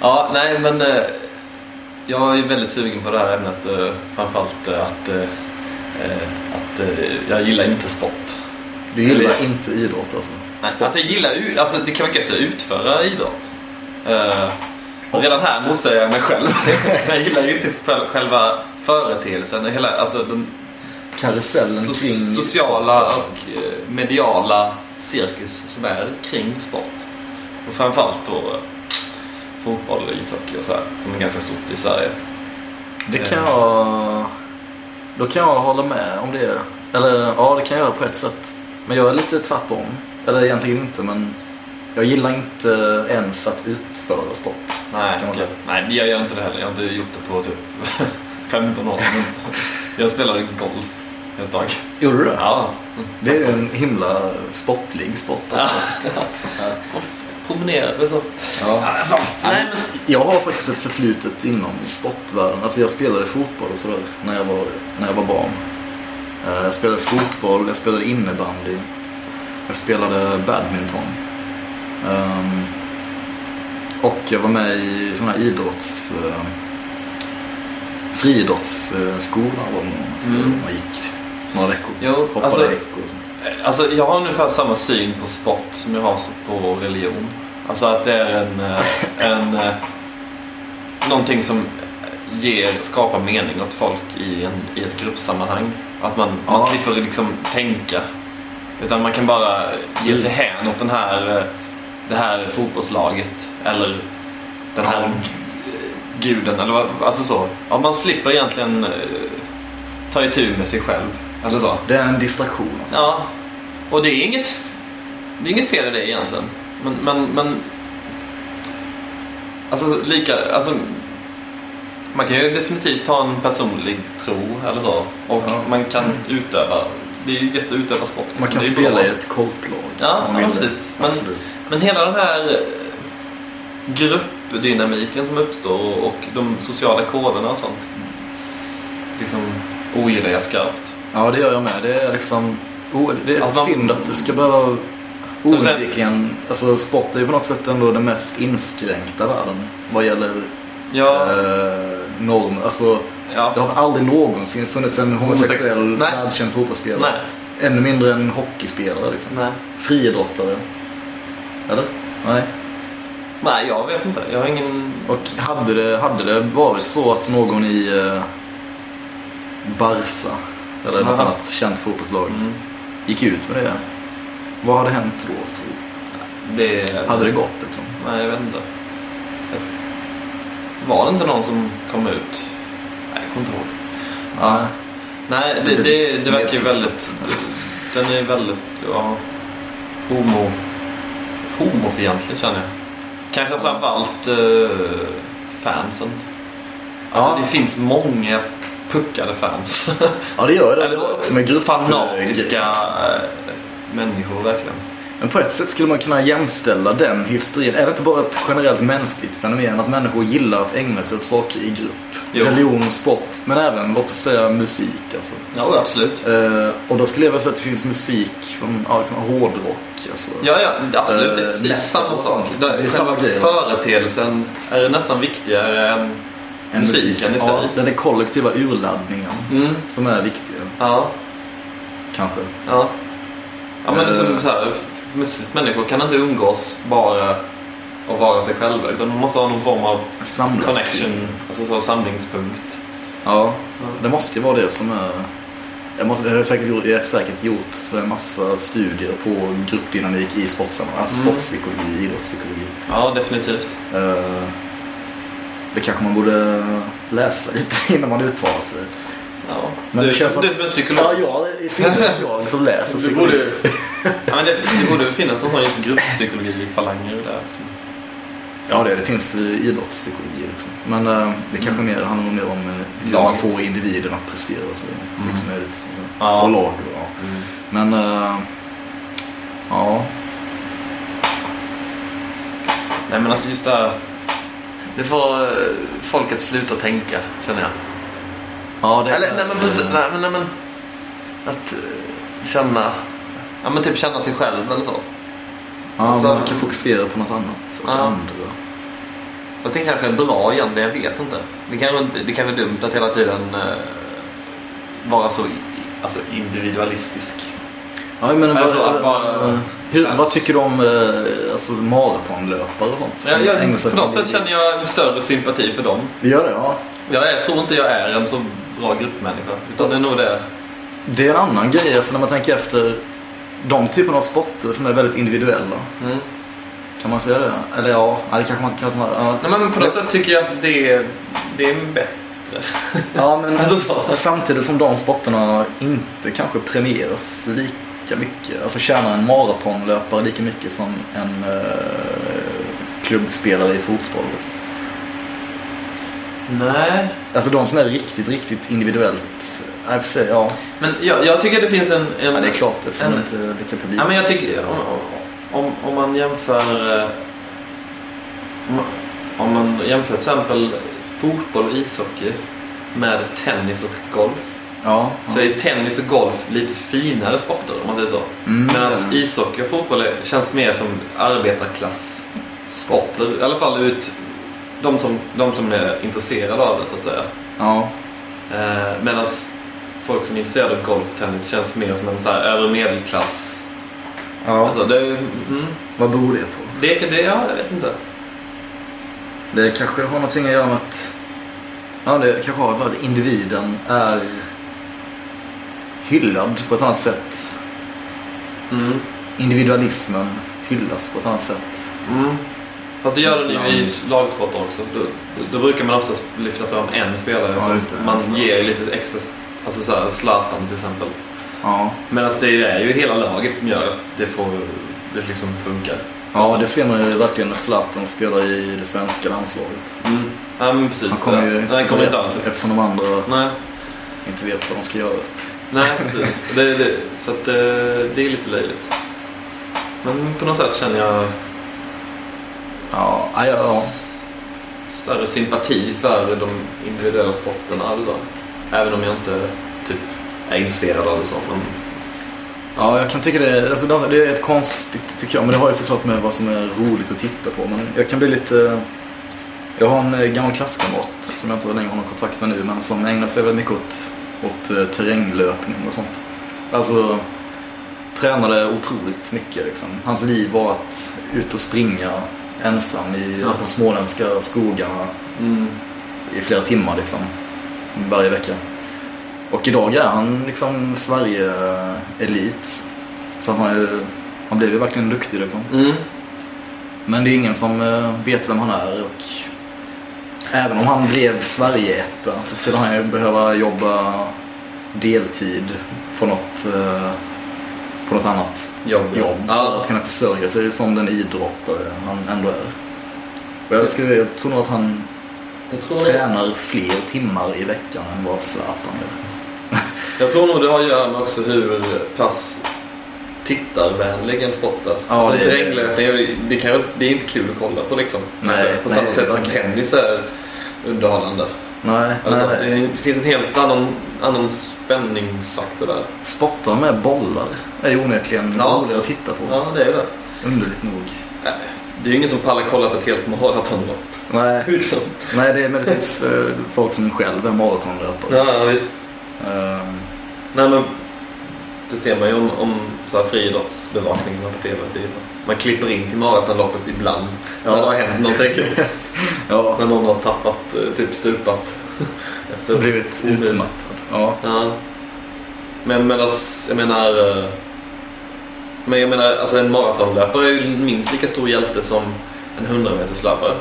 Ja, nej men eh, jag är väldigt sugen på det här ämnet. Eh, framförallt eh, att, eh, eh, att eh, jag gillar inte sport. Du gillar inte idrott alltså? Nej, alltså jag gillar ju, alltså det kan vara gött att utföra idrott. Eh, och redan här motsäger jag mig själv. jag gillar ju inte själ- själva företeelsen och hela, alltså den Karusellen so- kring... sociala och eh, mediala cirkus som är kring sport. Och framförallt då eh, fotboll och ishockey och så här, som är ganska stort i Sverige. Det kan jag... Då kan jag hålla med om det. Eller ja, det kan jag göra på ett sätt. Men jag är lite tvärtom. Eller egentligen inte, men jag gillar inte ens att utföra sport. Nej, Kan man okej. säga. Nej, men jag gör inte det heller. Jag har inte gjort det på typ 15 år. Men jag spelade golf ett tag. Gjorde du det? Ja. Det är ju en himla sportlig sport. Alltså. Promenerade så. Ja. Nej, men... Jag har faktiskt ett förflutet inom sportvärlden. Alltså jag spelade fotboll och sådär när jag var, när jag var barn. Eh, Jag spelade fotboll, jag spelade innebandy. Jag spelade badminton. Ehm, Och jag var med i sådana här idrotts... eh, Friidrottsskola var det nog. Alltså Mm. Man gick några veckor. Jo, hoppade alltså- veckor och sånt. Alltså, jag har ungefär samma syn på sport som jag har på religion. Alltså att det är en... eh, en eh, någonting som ger, skapar mening åt folk i, en, i ett gruppsammanhang. Att man, man Ja. slipper liksom tänka. Utan man kan bara ge sig Mm. hän åt den här, eh, det här fotbollslaget. Eller den här Ja. g- guden. Eller vad, alltså så. Ja, man slipper egentligen eh, ta itu med sig själv. Eller så. Det är en distraktion alltså. Ja, och det är inget, det är inget fel i det egentligen. Men, men, men alltså lika, alltså man kan ju definitivt ha en personlig tro eller så. Och Ja. man kan utöva, det är ju gött att utöva sport. Man kan Det är ju spela bra. i ett korplag. Ja, om man ja, vill det. precis. Men- Absolut. Men hela den här eh, gruppdynamiken som uppstår och- och de sociala koderna och sånt. Liksom ogillar jag skarpt. Ja, det gör jag med. Det är liksom... O, det är Att man- synd att det ska behöva... Men sen- Oundvikligen... Alltså sport är ju på något sätt ändå den mest inskränkta världen vad gäller Ja, eh, normer. Alltså, ja. det har aldrig någonsin funnits en homosexuell Homosex- Nej. världskänd fotbollsspelare. Nej, Ännu mindre en hockeyspelare liksom. nej. Friidrottare. Eller? Nej. Nej, jag vet inte. Jag har ingen... Och hade det, hade det varit så att någon i eh, Barca eller något Aha. annat känt fotbollslag Mm. gick ut med det. Vad hade hänt då? Tror Det... du? Hade det gått liksom? Nej, jag vet inte. Var det inte någon som kom ut? Nej, jag kommer inte ihåg. Ja. Nej, det, det, det verkar ju väldigt... Den är väldigt, ja... Homo... Homofientlig känner jag. Kanske framförallt eh, fansen. Alltså Ja. det finns många puckade fans. Ja, det gör det. Eller Som en grupp. fanatiska eh, människor verkligen. Men på ett sätt skulle man kunna jämställa den hysterin. Är det inte bara ett generellt mänskligt fenomen att människor gillar att ägna sig åt saker i grupp? Jo. Religion, sport, men även låt oss säga musik alltså. Ja, absolut. Eh, och då skulle jag vilja säga att det finns musik som ja, liksom hårdrock. Alltså. Ja, ja, absolut. Det är Eh, precis metal samma och sak. sånt. Det Det är är samma grej, va? företeelsen är nästan viktigare än... En musiken i Ja, sig. den är kollektiva urladdningen Mm. som är viktig Ja, kanske. ja. Ja, men det är som Eh. så här, musik- människor kan inte umgås bara och vara sig själva. Utan de måste ha någon form av Samlas. connection, alltså så samlingspunkt. Ja, det måste ju vara det som är... Jag, måste, det har säkert, gjort- det har säkert gjorts en massa studier på gruppdynamik i sportsammanhang. Alltså Mm. sportpsykologi, idrottspsykologi. Ja, definitivt. Eh, det kanske man borde läsa lite innan man uttalar sig. Ja. Men du, det känns som- du som är psykolog. Ja, jag är inte jag som läser du psykologi. borde, ja, men det, det borde finnas någon sån just grupppsykologi-falanger där. som- Ja, det, det finns eh, idrottspsykologi. Liksom. Men eh, det kanske Mm. mer, handlar mer om eh, hur man Laget. får individen att prestera så Liksom mycket som möjligt. så. Mm. Ja. eh, Och lag. och, Ja. Men, eh, ja. Nej men alltså just det här. Det får eh, folk att sluta tänka, känner jag. Eh. ja det, Eller nej men precis, nej men, nej, men Att eh, känna, ja men typ känna sig själv eller så. ja, alltså- man kan fokusera på något annat och Ja. andra. Fast det kanske är bra egentligen, jag vet inte. Det kanske, inte- det kanske är dumt att hela tiden eh, vara så i- alltså, individualistisk. Ja, jag menar, Alltså, vad, att bara- eh, hur, vad tycker du om eh, alltså, maratonlöpare och sånt? Jag, Som ägnar jag, sig på något åt- sätt känner jag en större sympati för dem. Vi gör det, ja. Jag, är- tror inte jag är en så bra gruppmänniska. Utan det är nog det. Det är en annan grej, alltså, när man tänker efter. De typerna av sporter som är väldigt individuella. Mm. Kan man säga det? Eller ja, nej, det kanske man inte kan säga. Ja. Nej, men på något sätt tycker jag att det är, det är bättre. Ja, men Alltså så. samtidigt som de sporterna inte kanske premieras lika mycket. Alltså tjänar en maratonlöpare lika mycket som en eh, klubbspelare i fotboll. Liksom. Nej. Alltså de som är riktigt, riktigt individuellt. eh, Ja, i och för sig, ja. Men jag, jag tycker det finns en... en ja, det är klart eftersom en- det inte är lika publik. Ja, men jag tycker om, om, om man jämför eh, om, om man jämför till exempel fotboll och ishockey med tennis och golf Ja, så ja. är tennis och golf lite finare sporter om man säger så. Mm. Medan ishockey och fotboll är- känns mer som arbetarklasssporter. I alla fall ut de som, de som är intresserade av det så att säga. ja. Eh, Medan folk som är intresserade av golf och tennis känns mer som en så här övre medelklass. ja. Alltså, det, är- mm. Vad beror det på? Det, det, ja, jag vet inte. Det kanske har någonting att göra med att, ja, det kanske har så att individen är hyllad på ett annat sätt. Mm. individualismen hyllas på ett annat sätt. Mm. Fast det gör den ju i Ibland. lagsporter också. Då, då- då brukar man oftast lyfta fram en spelare Ja, just det. som man Alltså. ger lite extra. Alltså så här, Zlatan till exempel. Ja. Medan det är ju hela laget som gör att det får det liksom funkar. ja, det ser man ju verkligen när Zlatan spelar i det svenska landslaget. Mm. Ja, men precis. Han kommer ju Nej, han kommer inte alls. eftersom de andra Nej, inte vet vad de ska göra. nej precis. det, det, så att, eh, det är lite löjligt. Men på något sätt känner jag Ja, ja, ja. större sympati för de individuella sporterna. Eller så. Även om jag inte typ, är intresserad av det. Så. Men, ja jag kan tycka det, alltså, det det är ett konstigt tycker jag. Men det har ju såklart med vad som är roligt att titta på. Men jag kan bli lite... Jag har en eh, gammal klasskamrat som jag inte längre har någon kontakt med nu men som ägnar sig väldigt mycket åt, åt eh, terränglöpning och sånt. Alltså tränade otroligt mycket liksom. Hans liv var att ut och springa ensam i Ja. de småländska skogarna mm, i flera timmar liksom. Varje vecka. Och idag är han liksom Sverige-elit. Så han, har ju, han blev ju verkligen duktig liksom. mm, Men det är ingen som eh, vet vem han är och även om han blev Sverige-etta så skulle han ju behöva jobba deltid på något, eh, på något annat jobb. jobb för Ja. att kunna försörja sig som den idrottare han ändå är. Och jag, skulle, jag tror nog att han Jag, tror, tränar fler timmar i veckan än vad Zlatan gör. jag tror nog det har att göra med också hur pass tittarvänlig en sport är. Ja, alltså, det- terränglöpning, det, det, kan, det är inte kul att kolla på liksom. Nej, på samma nej, sätt som verkligen. tennis är underhållande. Nej, Alltså, nej, nej. Det finns en helt annan, annan spänningsfaktor där. Spottar med bollar är ju onekligen Ja. roligare att titta på. Ja, det är det. Underligt nog. Nej, Det är ju ingen som pallar kolla på ett helt maratonlopp. Nej. Liksom. Nej, det är möjligtvis eh, folk som själv är maratonlöpare. Ja, ja, visst. Eh, Nej, men det ser man ju om, om så här friidrottsbevakningen på TV. Det är, ju- man klipper in till maratonloppet ibland Ja. när det har hänt någonting. ja, när någon har tappat, eh, typ stupat. har Efter. blivit Mm. utmattad. Ja. Ja. Men medans, jag menar... eh, Men jag menar, alltså en maratonlöpare är ju minst lika stor hjälte som en 100-meterslöpare.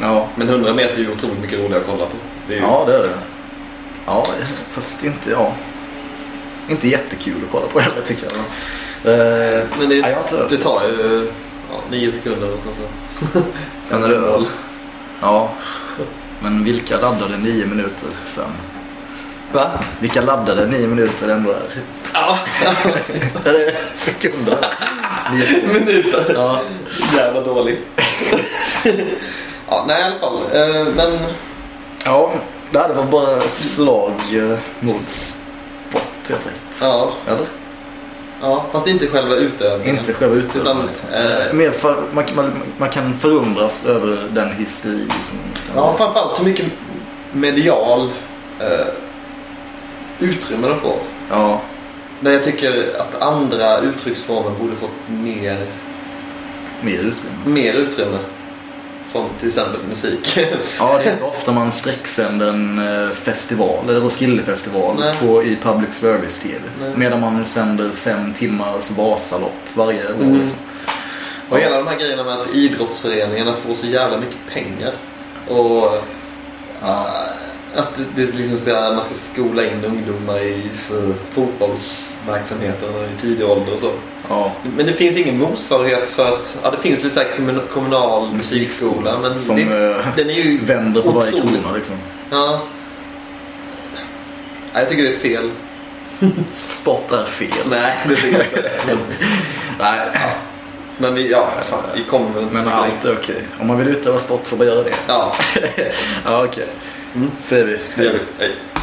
Ja. Men 100 meter är ju otroligt mycket roligare att kolla på. Det är ju, ja, det är det. Ja, fast inte, ja. Inte jättekul att kolla på heller tycker jag. Eh, Men det, nej, jag har inte det röst. tar ju ja, nio sekunder och sen så... Sen är det öl. Ja. Men vilka laddade nio minuter sen? Va? Vilka laddade nio minuter ändå är? Ja, Är det sekunder? Nio- minuter. Ja. Jävla dålig. ja, nej i alla fall. Eh, Men ja, det här var bara ett slag eh, mot spott helt enkelt. ja, Eller? Ja, fast inte själva utövningen. Inte själva utövandet. Utan, eh, Mer för, man, man, man kan förundras över den hysteri som... Ja, framförallt hur mycket medial eh, utrymme de får. Ja. Där jag tycker att andra uttrycksformer borde fått mer, Mer utrymme. mer utrymme. Som till exempel musik. Ja, det är inte ofta man sträcksänder en eh, festival, eller Roskildefestival, Nej. på, i public service-tv. Nej. Medan man sänder fem timmars Vasalopp varje år. Mm. Liksom. Och hela de här grejerna med att idrottsföreningarna får så jävla mycket pengar. Och eh, att det, det är liksom så här, man ska skola in ungdomar i för fotbollsverksamheten i tidig ålder och så. Ja, Men det finns ingen motsvarighet för att, ja det finns lite så här kommun- kommunal musikskola men som det, eh, den är ju vänder på varje otrolig. krona liksom. Ja. Nej, jag tycker det är fel. Sport är fel. Nej, det tycker jag inte. Men, Nej, men vi, ja, fan, vi kommer väl inte men så långt. allt är okej. Om man vill utöva sport får man göra det. Ja, Mm. Ja, okej. Ser vi. det gör vi. Hej.